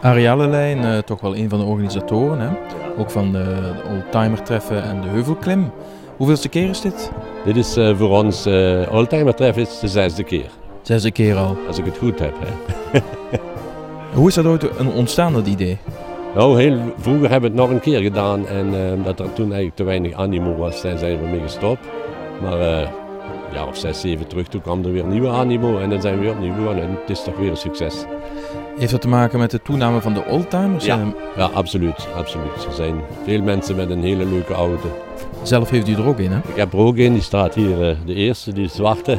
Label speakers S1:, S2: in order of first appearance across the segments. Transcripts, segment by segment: S1: Ariellelijn, eh, toch wel een van de organisatoren. Hè? Ook van de oldtimer treffen en de heuvelklim. Hoeveelste keer is dit?
S2: Dit is eh, voor ons eh oldtimer treffen is de zesde keer,
S1: Zesde keer al.
S2: als ik het goed heb. Hè.
S1: Hoe is dat ooit een- ontstaan, dat idee?
S2: Nou, heel vroeger hebben we het nog een keer gedaan en eh, dat er toen eigenlijk te weinig animo was, zijn zijn we mee gestopt. Maar eh een jaar of zes, zeven terug, toen kwam er weer nieuwe animo en dan zijn we weer opnieuw begonnen en het is toch weer een succes.
S1: Heeft dat te maken met de toename van de oldtimers?
S2: Ja.
S1: Eh,
S2: Ja, absoluut, absoluut. Er zijn veel mensen met een hele leuke auto.
S1: Zelf heeft u er ook in, hè?
S2: Ik heb er ook een, die staat hier, eh, de eerste, die zwarte.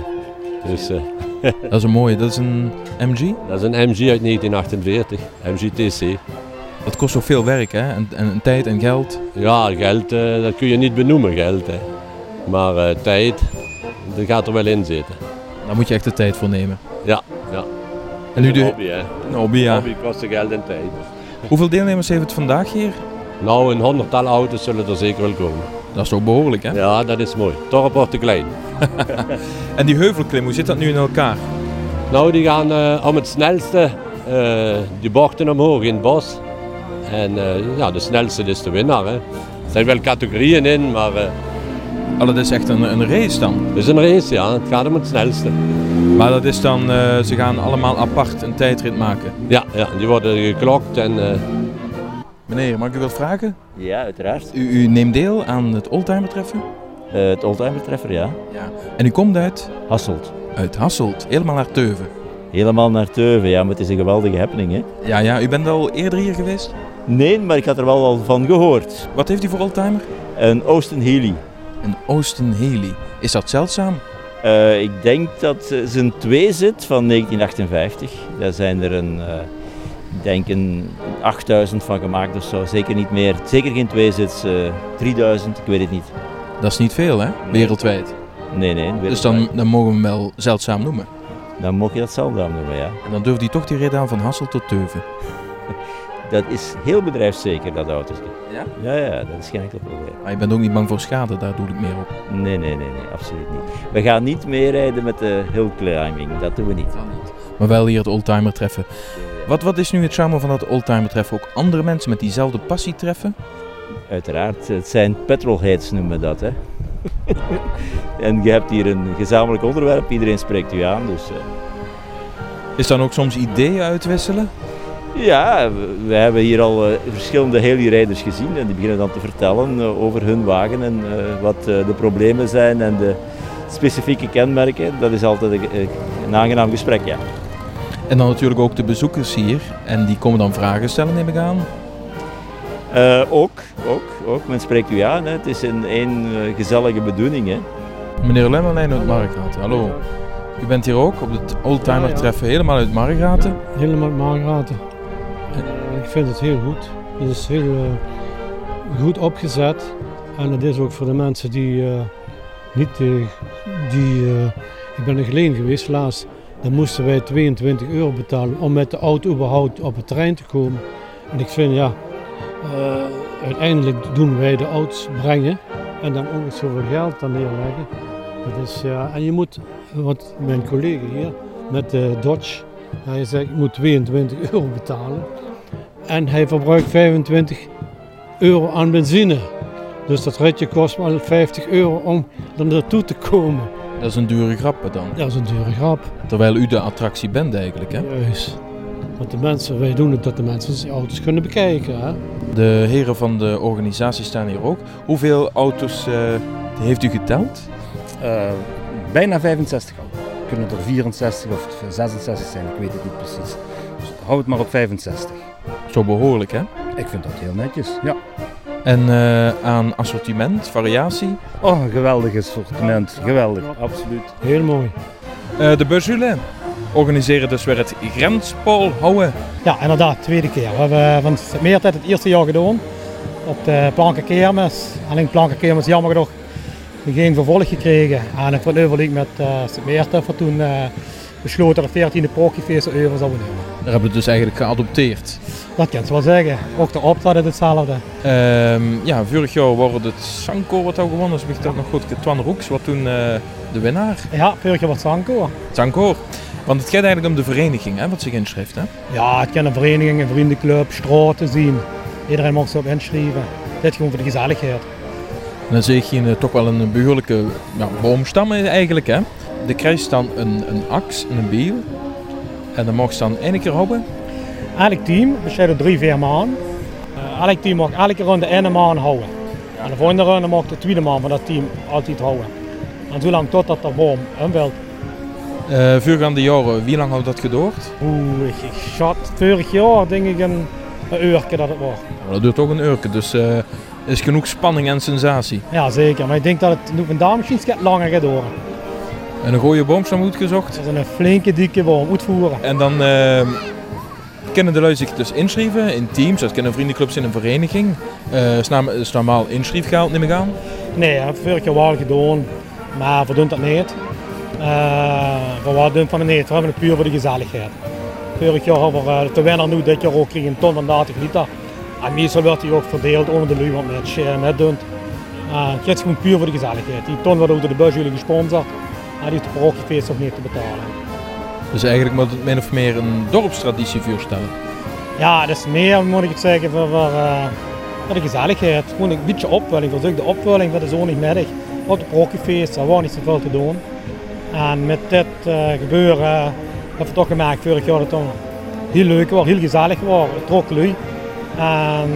S2: Dus eh,
S1: Dat is een mooie. Dat is een MG.
S2: dat is een MG uit 1948, MGTC.
S1: Dat kost ook veel werk, hè? En, en, en tijd en geld.
S2: Ja, geld, eh, dat kun je niet benoemen, geld. Hè. Maar eh, tijd, dat gaat er wel in zitten.
S1: Daar moet je echt de tijd voor nemen.
S2: Ja, ja.
S1: En nu de
S2: hobby, hè.
S1: een hobby, ja.
S2: Hobby kost geld en tijd.
S1: Hoeveel deelnemers heeft het vandaag hier?
S2: Nou, een honderdtal auto's zullen er zeker wel komen.
S1: Dat is toch behoorlijk, hè?
S2: Ja, dat is mooi. Torp wordt te klein.
S1: En die heuvelklim, hoe zit dat nu in elkaar?
S2: Nou, die gaan eh, om het snelste eh die bochten omhoog in het bos. En eh, ja, de snelste is de winnaar. Hè. Er zijn wel categorieën in, maar eh,
S1: Oh, dat is echt een, een race dan.
S2: het is een race, ja. Het gaat om het snelste.
S1: Maar dat is dan, eh, ze gaan allemaal apart een tijdrit maken.
S2: Ja, ja die worden geklokt en... eh,
S1: Meneer, mag ik u wat vragen?
S3: Ja, uiteraard.
S1: U, u neemt deel aan het oldtimer treffen.
S3: Eh, het oldtimer treffer, ja.
S1: Ja. En u komt uit?
S3: Hasselt.
S1: Uit Hasselt, helemaal naar Teuven.
S3: Helemaal naar Teuven, ja, maar het is een geweldige happening, hè.
S1: Ja, ja, u bent al eerder hier geweest.
S3: Nee, maar ik had er wel al van gehoord.
S1: Wat heeft u voor oldtimer?
S3: Een Oosten Healy.
S1: Een Austin Haley. Is dat zeldzaam?
S3: Eh, ik denk dat eh, zijn twee zit van 1958. Daar zijn er een, eh, ik denk een 8000 van gemaakt of zo. Zeker niet meer. Zeker geen twee zits. 3000, ik weet het niet.
S1: Dat is niet veel, hè? Wereldwijd.
S3: Nee, nee.
S1: Dus
S3: wereldwijd.
S1: dan, dan mogen we hem wel zeldzaam noemen.
S3: dan mocht je dat zelf dan noemen, ja.
S1: En dan durft hij toch die rit aan van Hasselt tot Teuven.
S3: Dat is heel bedrijfszeker, dat autootje.
S1: Ja?
S3: Ja, ja, dat is geen enkel probleem.
S1: Maar je bent ook niet bang voor schade, daar doe ik meer op.
S3: Nee, nee, nee, nee, absoluut niet. We gaan niet meerijden met de hill climbing, dat doen we niet.
S1: Maar wel hier het oldtimer treffen. Wat, wat is nu het charme van dat oldtimer treffen? Ook andere mensen met diezelfde passie treffen?
S3: Uiteraard, het zijn petrolheads noemen we dat, hè. en je hebt hier een gezamenlijk onderwerp, iedereen spreekt u aan, dus... eh,
S1: Is dan ook soms ideeën uitwisselen?
S3: Ja, we- we hebben hier al eh, verschillende heli-rijders gezien en die beginnen dan te vertellen eh, over hun wagen en eh, wat eh, de problemen zijn en de specifieke kenmerken. Dat is altijd een, eh, een aangenaam gesprek, ja.
S1: En dan natuurlijk ook de bezoekers hier. En die komen dan vragen stellen, neem ik aan.
S3: Eh, ook, ook, ook. Men spreekt u aan. Hè. Het is een, een eh, gezellige bedoeling. Hè.
S1: Meneer Lemmerlijn uit Margraten, hallo. U bent hier ook op het oldtimer treffen, helemaal uit Margraten.
S4: Helemaal maangraten. ik vind het heel goed. Het is heel eh, goed opgezet. En het is ook voor de mensen die eh, niet... eh, die, eh, ik ben er geleen geweest laatst. Dan moesten wij 22 euro betalen om met de auto überhaupt op het terrein te komen. En ik vind ja, eh, uiteindelijk doen wij de ouds brengen. En dan ook nog zoveel geld aan neerleggen. Dat is, ja, en je moet, want mijn collega hier met de Dodge, hij zegt, ik moet 22 euro betalen. En hij verbruikt 25 euro aan benzine. Dus dat ritje kost wel 50 euro om er naartoe te komen.
S1: Dat is een dure grap dan.
S4: Dat is een dure grap.
S1: Terwijl u de attractie bent eigenlijk, hè?
S4: Juist. Want de mensen, wij doen het dat de mensen zijn auto's kunnen bekijken. Hè?
S1: De heren van de organisatie staan hier ook. Hoeveel auto's eh, heeft u geteld?
S5: Eh, bijna 65 al. Kunnen er 64 of 66 zijn, ik weet het niet precies. Dus hou het maar op 65.
S1: Zo behoorlijk, hè?
S5: Ik vind dat heel netjes, ja.
S1: En eh, aan assortiment, variatie.
S5: Oh, een geweldig assortiment, geweldig, absoluut.
S4: Heel mooi.
S1: Eh, de Busjule organiseren dus weer het Grenspaal houden.
S6: Ja, inderdaad, tweede keer. We hebben eh, van het meer tijd het eerste jaar gedaan op de Plankenkermis. Alleen Plankenkermis, jammer genoeg, geen vervolg gekregen. En het wordt overleg met eh Meerten voor toen eh, besloten dat het 14e Porkyfeest over zou nemen.
S1: Daar hebben we het dus eigenlijk geadopteerd.
S6: Dat kan ze wel zeggen. Ook de opstad is hetzelfde.
S1: Ehm, ja, vorig jaar wordt het Sanko wat al gewonnen is. Heb ik dat nog goed? Twan Roeks, wat toen eh, de winnaar,
S6: Ja, Purger wordt Zanko.
S1: Tankor. Want het gaat eigenlijk om de vereniging hè, wat zich inschrijft. Hè?
S6: Ja, het kan een vereniging, een vriendenclub, straten zien. Iedereen mag zich op inschrijven. Dit gewoon voor de gezelligheid.
S1: En dan zie je hier eh, toch wel een behoorlijke ja, boomstam eigenlijk. Hè? De krijgt dan een, een aks en een biel. En dan mag ze dan één keer houden.
S6: Elk team bestaat uit drie, vier maanden. Eh, elk team mag elke ronde één maand houden. En de volgende ronde mag de tweede man van dat team altijd houden. En zolang totdat de boom hem wil.
S1: Eh voorgaande jaren, wie lang houdt dat gedoord?
S6: Oeh, ik, ik schat vorig jaar denk ik een, een uurtje dat het was.
S1: Nou, dat duurt toch een uurke, dus eh is genoeg spanning en sensatie.
S6: Ja, zeker. Maar ik denk dat het nu vandaag misschien iets langer gaat door.
S1: En een goede boomstam moet gezocht.
S6: Dat is een flinke, dikke boom. Uitvoeren.
S1: En dan eh, kunnen de lui zich dus inschrijven in teams. Dat kunnen vriendenclubs in een vereniging. Eh is, naam, is normaal inschrijfgeld, neem ik aan.
S6: Nee, hè, vorig jaar wel gedaan. Maar we doen dat niet. Eh, we wat doen van het niet. We hebben het puur voor de gezelligheid. Vorig jaar hebben we eh, de winnaar nu dit jaar ook kreeg een ton van 80 liter. En meestal werd die ook verdeeld onder de lui wat met, eh, met doen. Eh, het is gewoon puur voor de gezelligheid. Die ton wordt ook door de bus jullie gesponsord. En die is de parochiefeest nog niet te betalen.
S1: Dus eigenlijk moet het min of meer een dorpstraditie voorstellen.
S6: Ja, dat is meer, moet ik het zeggen, voor, voor, eh, voor de gezelligheid. Gewoon een beetje opwelling. Dat is ook de opwelling van de zondagmiddag. Op het hockeyfeest, daar was niet zoveel te doen. En met dit eh, gebeuren eh, hebben we toch gemerkt vorig jaar dat het heel leuk was, heel gezellig was. Het trok lui. En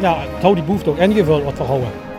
S6: ja, het houdt die behoefte ook ingevuld wat we houden.